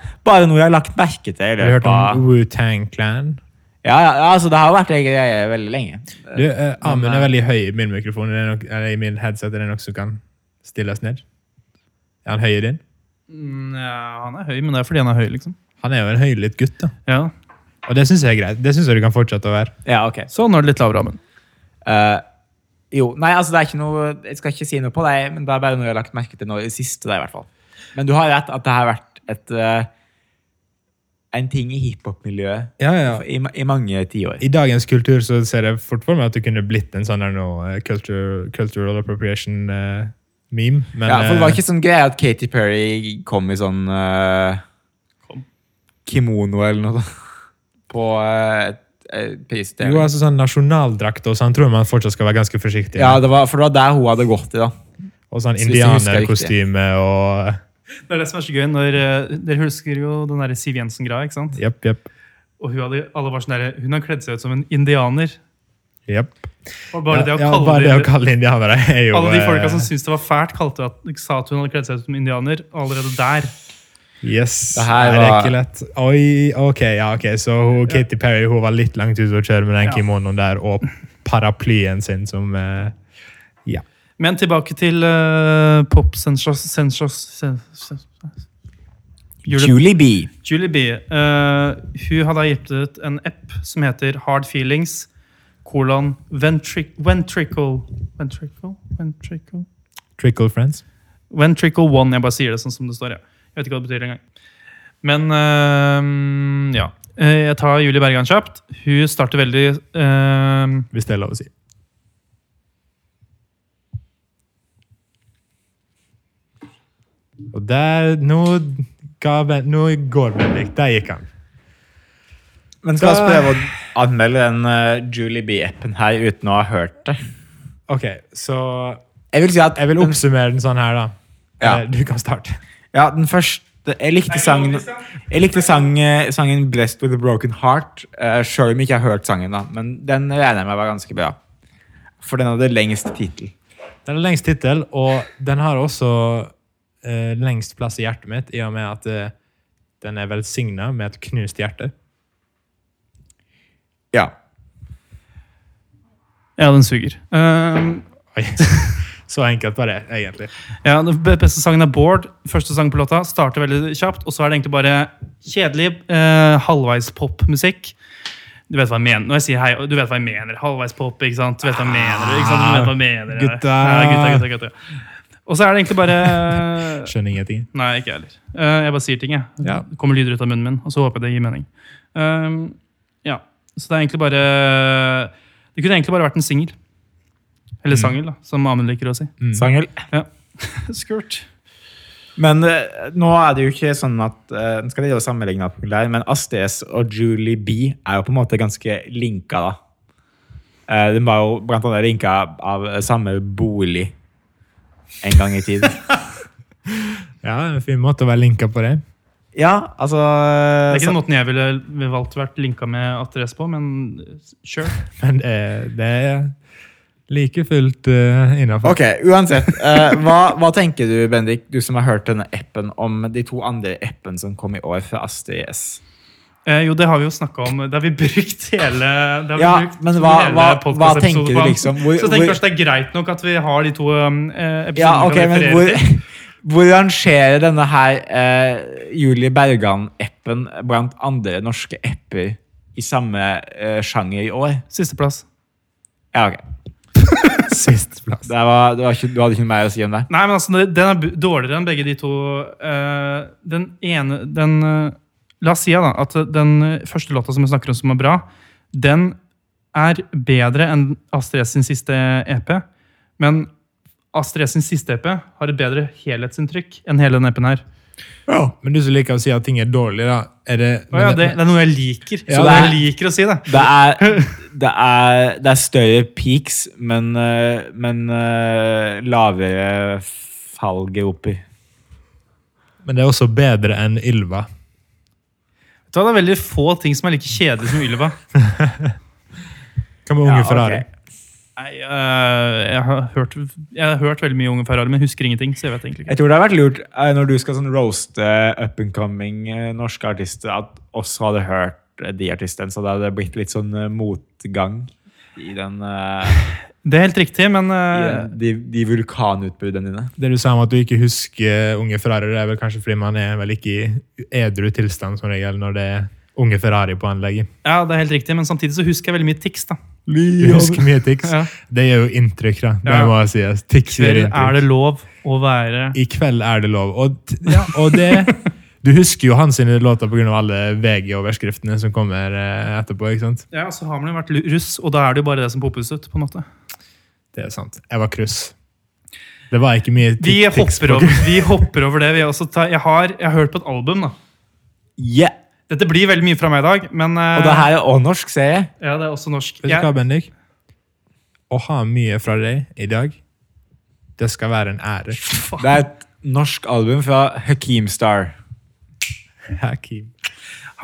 noe, bare noe jeg har lagt merke til. i
Har du hørt
løpet av-
om Wu-Tang Clan?
Ja, ja, ja, altså, det har jo vært ei greie veldig lenge.
Du, eh, Amund er veldig høy i min mikrofon, er det nok, eller i min headset. Er det nok som kan stilles ned? Er han høy i din?
Mm, ja, han er høy, men det er fordi han er høy, liksom.
Han er jo en høylytt gutt, da.
Ja.
Og det syns jeg er greit. Det synes jeg du kan fortsette å være.
Ja, ok.
Så Sånn, nå er det litt lavere, men.
Eh, jo, nei, altså det er ikke noe Jeg skal ikke si noe på deg, men det er bare noe jeg har lagt merke til nå i det siste. Det, i hvert fall. Men du har rett at det har vært et eh, en ting i hiphop-miljøet
Ja, ja.
i, ma- i mange tiår.
I dagens kultur så ser jeg fort for meg at du kunne blitt en sånn der nå, eh, culture, cultural appropriation-meme. men
Ja, for det var
eh,
ikke sånn greie at Katy Perry kom i sånn eh,
Kom.
kimono eller noe sånt på eh, et, et
jo,
prisutdeling.
altså sånn nasjonaldrakt og sånn tror jeg man fortsatt skal være ganske forsiktig.
Ja, det var, for det var der hun hadde gått i, da.
Og sånn
Så hvis jeg husker
indianerkostyme og eh,
Det er det som er så gøy. når eh, Dere husker jo den der Siv Jensen-greia. ikke sant?
Jepp, jepp.
Og hun, hadde, alle var sånn der, hun har kledd seg ut som en indianer.
Jepp.
Og bare det å
Ja, ja,
kalle
bare det å
det,
kalle indianere er jo
Alle de folka
eh,
som syntes det var fælt, kalte at, sa at hun hadde kledd seg ut som indianer. og Allerede der.
Yes.
Det her
Nei, det er
var-
ikke lett. Oi, ok, ja, ok. Så hun, Katy Perry hun var litt langt ute å kjøre med den kimonoen der og paraplyen sin som eh, Ja.
Men tilbake til uh,
Julie B.
Julie B. eh, hun har da gitt ut en app som heter Hard Feelings, kolon ventric ventricle Ventricle? Ventricle?
Trickle Friends.
Ventricle One. Jeg bare sier det sånn som det står. Ja. Jeg vet ikke hva det betyr engang. Men eh, ja. Eh, Jeg tar Julie Bergan kjapt. Hun starter veldig eh,
Hvis det er lov å si. Og der Nå, ga, Ben- nå går Bendik. Der gikk han.
Men skal vi prøve å anmelde den eh, Julie B-appen her uten å ha hørt det?
OK, så
Jeg vil si at
Jeg vil oppsummere den sånn her, da.
Ja.
Eh, Du kan starte.
Ja, den første Jeg likte sangen Jeg likte sang, sangen 'Blessed with a Broken Heart', uh, sjøl om jeg ikke har hørt sangen, da. Men den regner jeg med var ganske bra. For den hadde lengst tittel.
Den har lengst tittel, og den har også eh, lengst plass i hjertet mitt, i og med at eh, den er velsigna med et knust hjerte.
Ja.
Ja, den suger. Eh,
Oi. Så enkelt var det, egentlig.
Ja, den b- beste sangen er Bård. Første sang på låta starter veldig kjapt, og så er det egentlig bare kjedelig eh, halvveis-pop-musikk. Du vet hva jeg mener når jeg sier hei, og du vet hva jeg mener. Halvveis-pop, ikke sant? Du vet hva jeg mener, ikke sant? Du vet hva jeg mener.
Gutta.
Ja, gutta, gutta, gutta. Og så er det egentlig bare
Skjønner ingenting.
Nei, ikke jeg heller. Eh, jeg bare sier ting, jeg.
Ja.
Det kommer lyder ut av munnen min, og så håper jeg det gir mening. Um, ja, så det er egentlig bare Det kunne egentlig bare vært en singel.
Mm.
Eller sangel, da, som Amund liker å si.
Sangel.
Skurt.
Men eh, nå er det jo ikke sånn at eh, Nå skal jeg gjøre sammenligning, av populær, men Astrid S og Julie B er jo på en måte ganske linka, da. Eh, de var jo blant annet linka av samme bolig en gang i tid.
Ja, en fin måte å være linka på det.
ja, altså
Det er ikke
så-
den måten jeg ville ville valgt vært linka med adresse på, men sure.
Men det, er- det er like fullt uh, innafor.
Ok, uansett. eh, hva, hva tenker du, Bendik, du som har hørt denne appen, om de to andre appene som kom i år fra Astrid S?
Eh, jo, det har vi jo snakka om. Det har vi brukt hele det har vi
Ja,
brukt
men hva-
hele
hva- hva
podcastepisoden
tenker du
på.
liksom? Hvor-
så jeg tenker
hvor-
kanskje det er greit nok at vi har de to um, eh, episodene
Ja, ok,
vi kan
men
referere
hvor,
til.
hvor rangerer denne her eh, Julie Bergan-appen blant andre norske apper i samme eh, sjanger i år?
Sisteplass.
Ja, ok.
Sistplass.
Det var, det var ikke, du hadde ikke noe mer å si om det?
Nei, men altså, det- den er bu- dårligere enn begge de to. Eh, den ene den, eh, La oss si ja, da, at den eh, første låta som vi snakker om som er bra, den er bedre enn Astrid S sin siste EP. Men Astrid S sin siste EP har et bedre helhetsinntrykk enn hele den EP-en her.
Men du som liker å si at ting er dårlig, da er det,
Å ja, det, det er noe jeg liker.
Ja,
så det er, jeg
det
liker å si det.
Det er, det er, det er større peaks, men, eh, men eh, lavere fallgroper.
men det er også bedre enn Ylva.
Vet du hva, Det er veldig få ting som er like kjedelig som Ylva.
Hva med Unge
Ja, ok.
Ferrari?
Nei, eh, jeg, har hørt, jeg har hørt veldig mye Unge Ferrari, men husker ingenting. så jeg vet egentlig ikke.
Jeg tror det har vært lurt eh, når du skal sånn roaste up and coming eh, norske artister, at også hadde hørt eh, de artistene, så det hadde blitt litt sånn eh, motgang i den eh,
Det er helt riktig, men
i
eh,
den- de, de vulkanutbruddene dine.
Det du sa om at du ikke husker Unge Ferrari, det er vel kanskje fordi man er vel ikke i edru tilstand som regel når det er Unge Ferrari på anlegget.
Ja, det er helt riktig, men samtidig så husker jeg veldig mye tics. da.
Du husker mye tics.
Ja.
Det gjør jo inntrykk, da. Det
Ja.
må jeg si. Altså, Tics gjør
Vel, er
inntrykk.
det lov å være
I kveld er det lov. Og, t- ja, og det Du husker jo hans sine låter pga. alle VG-overskriftene som kommer eh, etterpå. ikke sant?
Ja, så har man jo vært lu- russ, og da er det jo bare det som poppes ut. på en måte.
Det er sant. Jeg var kryss. Det var ikke mye
Vi
tic- tics
hopper
på-
over, vi hopper over det. Vi også tar, jeg, har, jeg har hørt på et album, da.
Yeah!
Dette blir veldig mye fra meg i dag, men eh,
Og det her er òg norsk, ser jeg.
ja, det er også norsk.
Vet du hva,
Jeg,
Bendik? Å ha mye fra deg i dag, det skal være en ære.
Det er et norsk album fra Hakeemstar.
Hakim.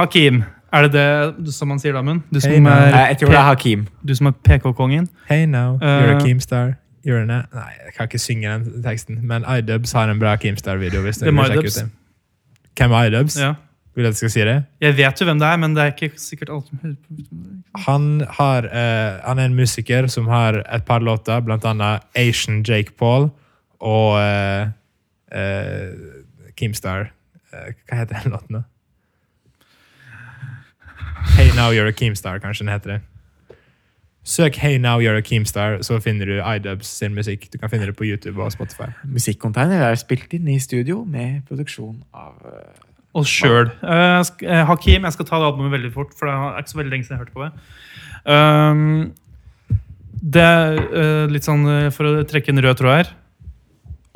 Hakim, er det det du- som man sier, Damund? Du, som
Hei, man.
Eh,
er
Jeg tror det er Hakeem.
P- du som er PK-kongen?
Hey now, you're a
Eh.
Keemstar. You're an a Nei, jeg kan ikke synge den teksten, men iDubs har en bra Keemstar-video. hvis du
Hvem
vil
er
sjekke
Idubs?
ut det. Hvem er iDubs?
Ja.
Vil du at jeg skal si det?
Jeg vet jo hvem det er, men det er ikke sikkert alle som hører på.
Han, har, eh, han er en musiker som har et par låter, blant annet Asian Jake Paul og eh, eh, Keemstar. Eh, hva heter den låten, da? Hey Now You're a Keemstar, kanskje den heter det. Søk Hey Now You're a Keemstar, så finner du iDubbbz sin musikk. Du kan finne det på YouTube og Spotify.
Musikkonteiner er spilt inn i studio med produksjon av eh,
Og sjøl. Eh, sk- eh, Hakim, jeg skal ta det albumet veldig fort, for det er ikke så veldig lenge siden jeg hørte på det. Ehm, det er eh, litt sånn, eh, for å trekke en rød tråd her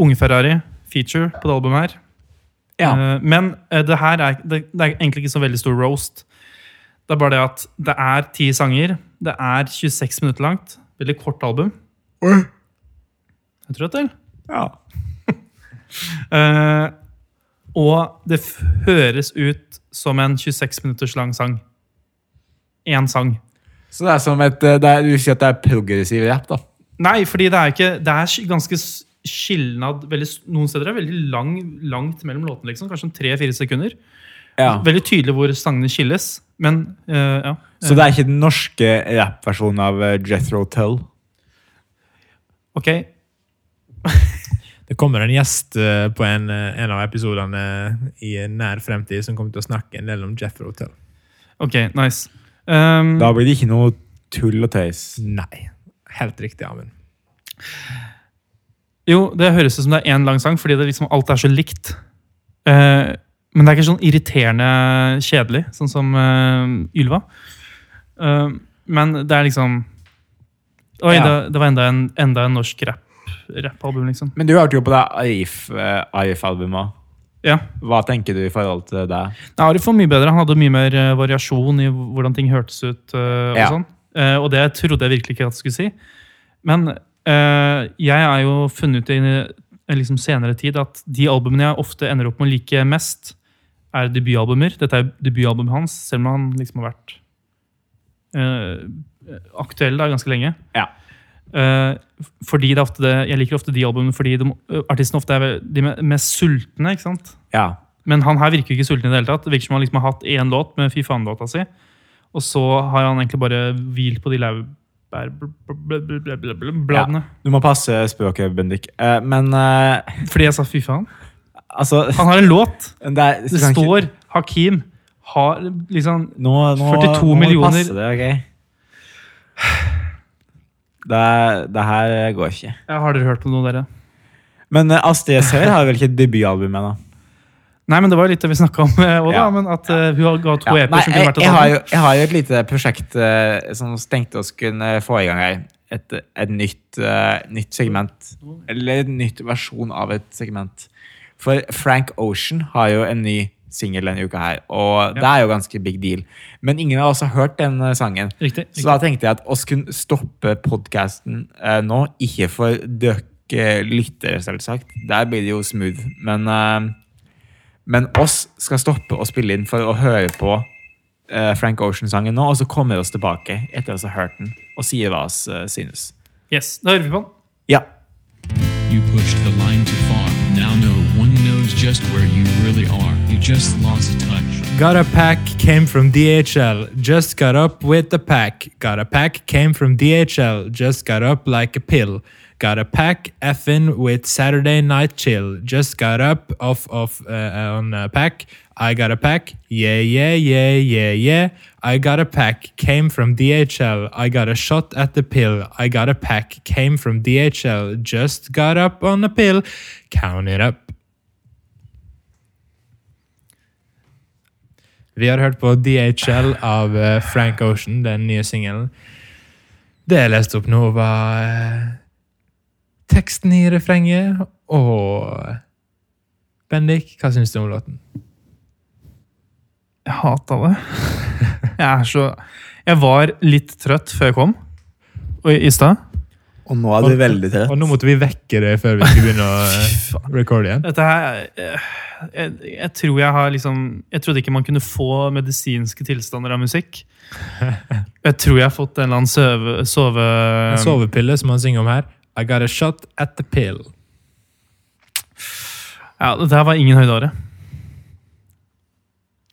Unge Ferrari, feature på det albumet her.
Ja.
Eh, men eh, det her er, det, det er egentlig ikke så veldig stor roast. Det er bare det at det er ti sanger. Det er 26 minutter langt. Veldig kort album. Jeg tror at det er.
ja.
Eh, og det f- høres ut som en 26 minutters lang sang. Én sang.
Så det er som et eh, det er, Du sier at det er progressiv rap, da.
Nei, fordi det er ikke Det er sk- ganske s- skilnad veldig, s- Noen steder er det veldig lang, langt mellom låtene, liksom. Kanskje tre-fire sekunder. Veldig tydelig hvor sangene skilles. Men eh, ja.
Så det er ikke den norske rappversjonen av eh, Jethro Tull?
Ok.
Det kommer en gjest eh, på en, eh, en av episodene i nær fremtid som kommer til å snakke en del om Jethro Tull.
Ok, nice. Um,
Da blir det ikke noe tull og tøys.
Nei. Helt riktig, Amund.
Jo, det høres ut som det er én lang sang, fordi det liksom, alt er så likt. Eh, men det er ikke sånn irriterende kjedelig, sånn som eh, Ylva. Eh, men det er liksom Oi,
Ja.
det, det var enda en, enda en norsk rap- rappalbum, liksom.
Men du hørte jo på det eh, Arif-albumet.
Ja.
Hva tenker du i forhold til det?
Nei, Arif var mye bedre. Han hadde mye mer eh, variasjon i hvordan ting hørtes ut. eh, og
Ja.
sånn. Eh, og det trodde jeg virkelig ikke at jeg skulle si. Men eh, jeg er jo funnet ut i en liksom senere tid at de albumene jeg ofte ender opp med å like mest, er debutalbumer. Dette er debutalbumet hans, selv om han liksom har vært eh, aktuell da, ganske lenge.
Ja.
Eh, fordi det er ofte det, Jeg liker ofte de albumene fordi de, eh, artistene ofte er vel- de me- mest sultne. ikke sant?
Ja.
Men han her virker jo ikke sulten i det hele tatt. Det virker som han liksom har hatt én låt med fy faen-låta si, og så har han egentlig bare hvilt på de laurbærbladene.
Du må passe språket, Bendik. Eh, men eh,
Fordi jeg sa fy faen.
altså
Han har en låt!
Det, er,
Det står Hakim har liksom
nå, nå,
42
nå må du
millioner.
passe Det, ok? det, er- det her går ikke.
ja, Har dere hørt om noe, dere?
Men eh, Astrid S. Høyer har vel ikke et debutalbum ennå?
Nei, men det var jo litt det vi snakka om òg, da.
Ja.
Men at eh, hun ga to
Ja,
EP-er som kunne
jeg,
vært et
jeg, har
album.
jo, jeg har jo et lite prosjekt eh, som tenkte oss kunne få i gang her. Et, et nytt, eh, nytt segment. Eller en nytt versjon av et segment. For Frank Ocean har jo en ny singel denne uka her, og det er jo ganske big deal. Men ingen av oss har hørt den eh, sangen.
Riktig,
Så da tenkte jeg at oss kunne stoppe podkasten nå, ikke for dere lyttere, selvsagt. Der blir det jo smooth. Men, eh, men oss skal stoppe å spille inn for å høre på eh, Frank Ocean-sangen nå, og så kommer vi oss tilbake etter oss har hørt den, og sier hva oss eh, synes.
Yes, Da hører vi på den.
Ja.
You pushed the line too far. Now no one knows just where you really are. You just lost touch.
Got a pack came from DHL. Just got up with the pack. Got a pack came from DHL. Just got up like a pill. Got a pack effing with Saturday night chill. Just got up off of uh, on a pack. I got a pack. Yeah yeah yeah yeah yeah. I got a pack came from DHL. I got a shot at the pill. I got a pack came from DHL. Just got up on a pill. Count it up. Vi har hørt på DHL av eh, Frank Ocean, den nye singelen. Det jeg leste opp nå, var eh, teksten i refrenget og eh, Bendik, hva syns du om låten?
Jeg hata det. Jeg er så Jeg var litt trøtt før jeg kom. Og i- i stad.
Og nå er
du veldig Og nå måtte vi vekke det før vi skulle begynne å eh, recorde igjen.
Dette her eh, jeg, jeg tror jeg har liksom Jeg trodde ikke man kunne få medisinske tilstander av musikk. Jeg tror jeg har fått en eller annen sove... sove
En sovepille, som han synger om her. I got a shot at the pill.
ja, dette her var ingen høydare.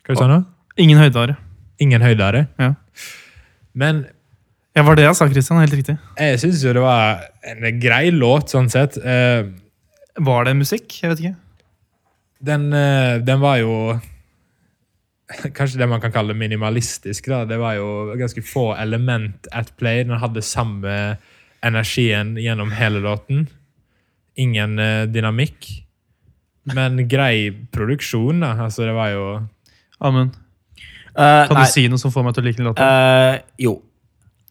Hva Hva sa han da?
Ingen høydehare.
Ingen høydehare.
Ja.
Men
Ja, var det jeg sa, Christian. Helt riktig.
jeg syns jo det var en grei låt, sånn sett. Eh,
Var det musikk? Jeg vet ikke.
Den, eh, den var jo Kanskje det man kan kalle minimalistisk. da. Det var jo ganske få element at play. Den hadde samme energien gjennom hele låten. Ingen eh, dynamikk. Men grei produksjon, da. Altså, det var jo
Amund,
Eh,
kan
nei,
du si noe som får meg til å like låta?
eh, jo.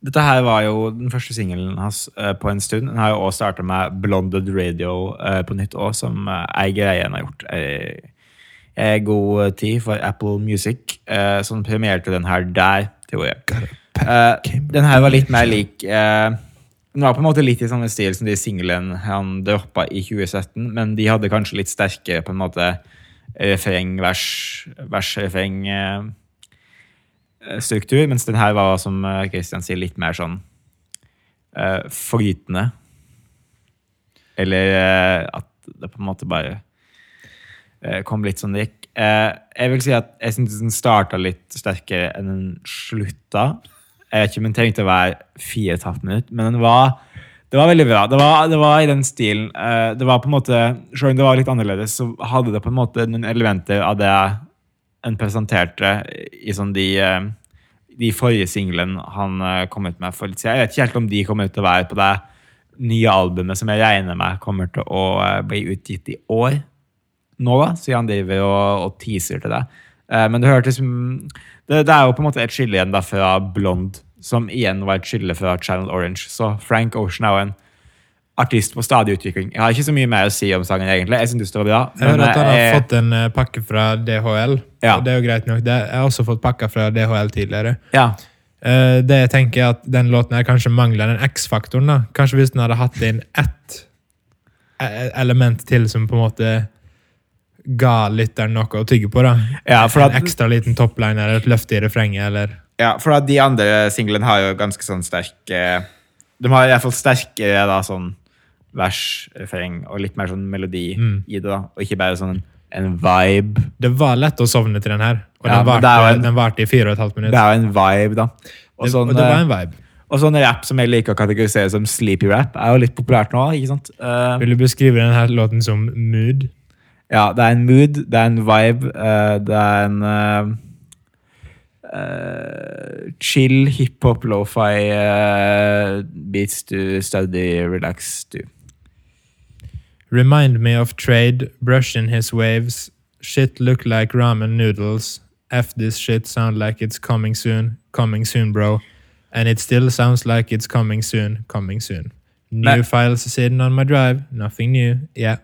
Dette her var jo den første singelen hans eh, på en stund. Den har jo også starta med Blonded Radio eh, på nytt òg, som uh, ei greie han har gjort. Eh, eh, god tid for Apple Music, eh, som premierte den her der, tror jeg. Eh, den her var litt mer lik eh, Den var på en måte litt i samme stil som de singlene han droppa i 2017, men de hadde kanskje litt sterkere på en måte refreng, vers, vers, refreng eh, struktur, mens den her var, som eh, Christian sier, litt mer sånn eh, flytende. Eller eh, at det på en måte bare eh, kom litt som det gikk. Eh, jeg vil si at jeg syntes den starta litt sterkere enn den slutta. Jeg vet ikke om den trengte å være fire og et halvt minutt, men den var, det var veldig bra. Det var, det var i den stilen. eh, det var på en måte, Selv om det var litt annerledes, så hadde det på en måte noen elementer av det en presenterte i sånn de eh, de forrige singlene han eh, kom ut med for litt siden. Jeg vet ikke helt om de kommer til å være på det nye albumet som jeg regner med kommer til å eh, bli utgitt i år nå, da, siden han driver og, og teaser til det. Eh, men det hørtes mm, det, det er jo på en måte et skille igjen da fra Blond, som igjen var et skille fra Channel Orange. Så Frank Ocean er jo en artist på stadig utvikling. Jeg har ikke så mye mer å si om sangen, egentlig. Jeg synes det var bra.
Jeg hører
men,
at han
eh,
har fått en eh, pakke fra DHL.
Ja.
og Det er jo greit nok. Det, jeg har også fått pakker fra DHL tidligere.
ja,
Eh, det jeg tenker er at den låten her kanskje mangler den X-faktoren. da. Kanskje hvis den hadde hatt inn ett e- element til som på en måte ga lytteren noe å tygge på. da.
Ja, for at-
En ekstra liten topline eller et løfte i refrenget. eller...
Ja, for at de andre singlene har jo ganske sånn sterk eh, De har i hvert fall sterkere da, sånn vers, refreng og litt mer sånn melodi
Mm.
i det, da. Og ikke bare sånn en vibe.
Det var lett å sovne til den her, og
Ja,
den
men det er jo
varte
en-
den varte i fire og et halvt minutt.
Det er jo en vibe, da. Og
Det-
sånn,
og det var en
eh,
vibe.
og sånn rap som jeg liker å kategorisere som sleepy rap, er jo litt populært nå. ikke sant? Eh,
Vil du beskrive denne låten som mood?
ja, Det er en mood, det er en vibe, eh, det er en eh, eh, chill hiphop, lofi, uh, beats to study, relax to.
Remind me of trade, brushing his waves. Shit look like ramen noodles. F this shit sound like it's coming soon, coming soon, bro. And it still sounds like it's coming soon, coming soon. New
Men-
files sitting on my drive, nothing new, yeah.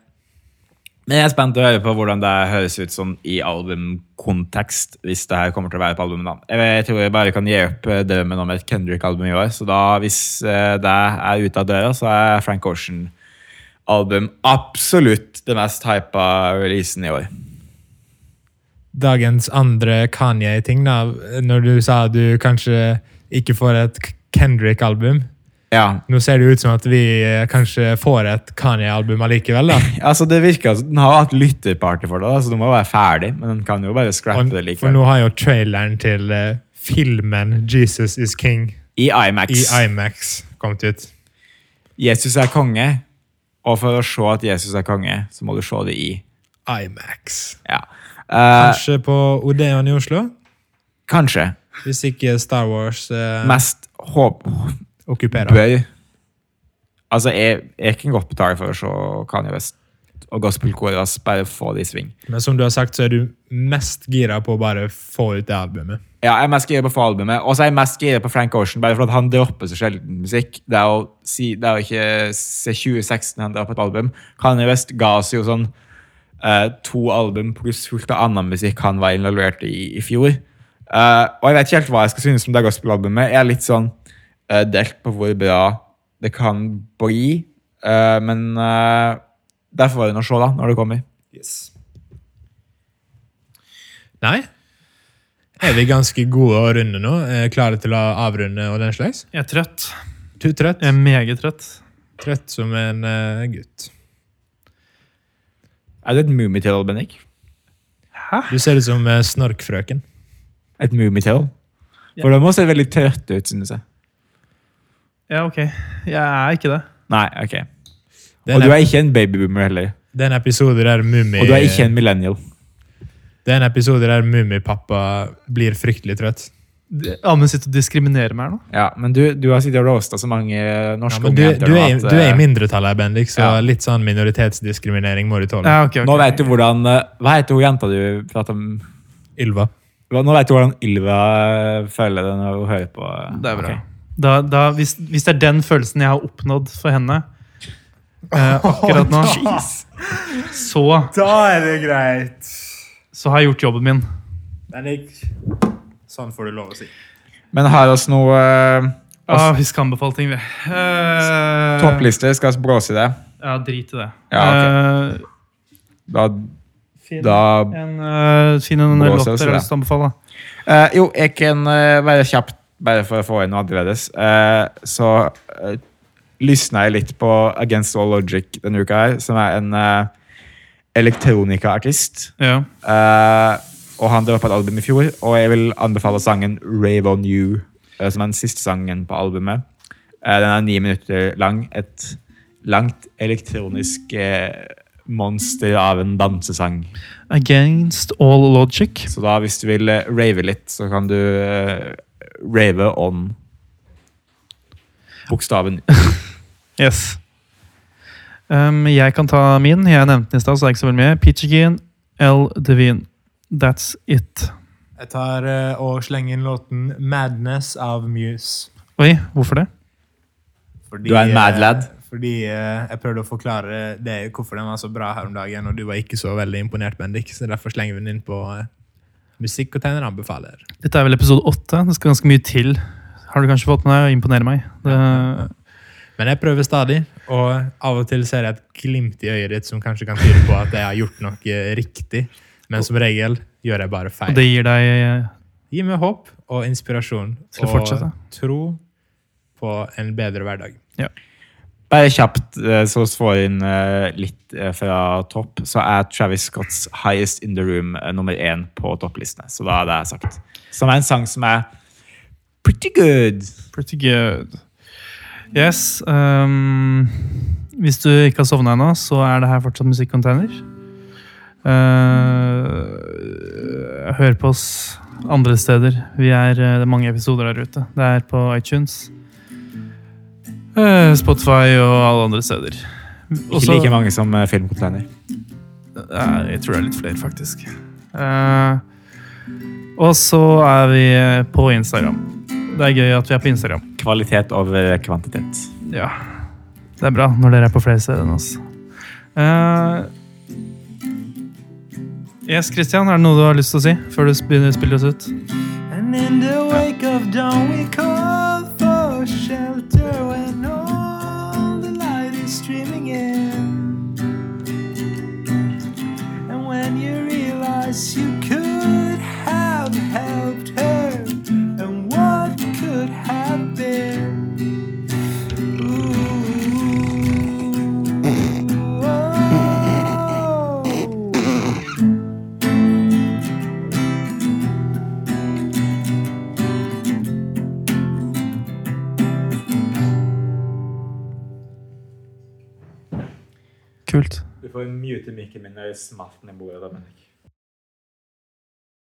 Men jeg er spent å høre på hvordan det høres ut sånn i albumkontekst, hvis det her kommer til å være på albumet. da. Jeg, jeg tror jeg bare kan gi opp eh, drømmen om et Kendrick-album i år. Så da, hvis eh, det er ute av døra, så er Frank Ocean-album absolutt det mest hypa releasen i år.
Dagens andre Kanye-ting, da. Når du sa du kanskje ikke får et K- Kendrick-album.
Ja,
Nå ser det ut som at vi eh, kanskje får et Kanye-album allikevel, da.
altså det virker altså, Den har jo hatt lytterparty for det, da, så den må være ferdig. Men den kan jo bare scrappe
Og,
det
for
likevel.
nå har jo traileren til eh, filmen 'Jesus is King'
I
i
IMAX.
Imax kommet ut.
Jesus er konge. Og for å se at Jesus er konge, så må du se det i.
Imax.
Ja. Eh,
Kanskje på Odeon i Oslo?
kanskje.
Hvis ikke Star Wars eh,
mest håp
okkuperer.
bør Altså, jeg, jeg kan godt betale for å se Kanye West og gospelkoret hans bare få det i sving.
Men som du har sagt, så er du mest gira på å bare få ut det albumet.
Ja, jeg er mest gira på å få albumet, og så er jeg mest gira på Frank Ocean, bare fordi han dropper så sjelden musikk. Det er jo, si, det er jo ikke se 2016 han dropper et album. Kanye West ga oss jo sånn eh, to album pluss fullt av annen musikk han var involvert i i fjor. Eh, og jeg vet ikke helt hva jeg skal synes om det gospelalbumet. Jeg er litt sånn eh, delt på hvor bra det kan bli, eh, men eh, der får vi nå se, da, når det kommer.
Nei? Er vi ganske gode å runde nå? Eh, Klare til å avrunde og den slags?
Jeg er trøtt.
Du trøtt?
Jeg er meget trøtt.
Trøtt som en eh, gutt.
Er det et Mummitroll, Bennik?
Du ser ut som eh, Snorkfrøken.
Et Mummitroll. For de må se veldig trøtte ut, synes jeg.
Ja, ok. Jeg er ikke det.
Nei, ok.
Det
Og
er
du
en,
er ikke en babyboomer heller.
det er en episode der mummi...
Og du er ikke en millennial.
Det er en episode der mummipappa blir fryktelig trøtt.
Det- Amund sitter og diskriminerer meg her nå.
Ja, Men du, du har sittet og roasta så mange
Ja,
norske
men du,
unge jenter
du,
nå
er,
at,
du er
eh,
i mindretallet, Bendik, så
Ja.
litt sånn minoritetsdiskriminering må du tåle.
Ja, ok, ok.
Nå vet du hvordan eh, Hva heter hun jenta du prater om?
Ylva.
Hva- Nå vet du hvordan Ylva eh, føler det når hun hører på. eh,
Det er bra.
ok.
Da, da, hvis, hvis det er den følelsen jeg har oppnådd for henne eh, akkurat nå, så,
Da er det greit.
så har jeg gjort jobben min.
Sånn får du lov å si.
Men har oss noe eh,
Ja, Ah, vi skal anbefale ting, vi. Eh,
topplister. Skal vi blåse i det?
Ja, drit i det.
Ja,
Eh,
Da,
finn,
da
en, eh, finn en
Blås
låt
oss i det.
dere har lyst til å anbefale.
Eh, jo, jeg kan eh, være kjapt, bare for å få inn noe annerledes. Eh, så uh, lysna jeg litt på Against All Logic denne uka her, som er en uh, elektronikaartist.
Ja.
Eh, og han droppa et album i fjor, og jeg vil anbefale sangen Rave On You, eh, som er den siste sangen på albumet. Eh, den er ni minutter lang. Et langt elektronisk eh, monster av en dansesang.
Against all logic.
Så da, hvis du vil eh, rave litt, så kan du eh, rave on bokstaven.
Yes. Um, jeg kan ta min. Jeg nevnte den i stad, så det er ikke så veldig mye. Pitchegin, L. Devine. That's it.
Jeg tar eh, og slenger inn låten 'Madness' av Muse.
Oi, hvorfor det?
Fordi,
Du er en mad lad.
eh, Fordi eh, jeg prøvde å forklare deg hvorfor den var så bra her om dagen, og du var ikke så veldig imponert, Bendik, så derfor slenger vi den inn på eh, musikk og tegner anbefaler.
Dette er vel episode åtte. Det skal ganske mye til. Har du kanskje fått med deg å imponere meg? Det,
Men jeg prøver stadig, og av og til ser jeg et glimt i øyet ditt som kanskje kan tyde på at jeg har gjort noe eh, riktig, men som regel gjør jeg bare
og
feil.
det gir deg eh,
Gi meg håp og inspirasjon
Til å
og
fortsette.
tro på en bedre hverdag.
Bare kjapt, eh, så vi får inn eh, litt eh, fra topp, så er Travis Scotts Highest In The Room eh, nummer én på topplistene. Så da er det sagt. Som er en sang som er pretty good.
Pretty good. Yes. ehm, hvis du ikke har sovna ennå, så er det her fortsatt musikkcontainer. Eh, hør på oss andre steder. Vi er, eh, det er mange episoder der ute. Det er på iTunes, eh, Spotify og alle andre steder. Også-
Ikke like mange som eh, filmcontainer.
ja, Eh, jeg tror det er litt flere, faktisk. Eh, og så er vi eh, på Instagram. Det er gøy at vi er på Instagram.
Kvalitet over kvantitet.
Ja. Det er bra når dere er på flere steder enn oss. Eh, yes, Christian, er det noe du har lyst til å si før du begynner å spille oss ut?
And in the wake of dawn, we call for shelter when all the light is streaming in. And when you realize you could have helped her, and what could have been. Ooh. Oh.
Kult.
Du får mute mikken min når jeg smatter ned bordet. da, Bendik.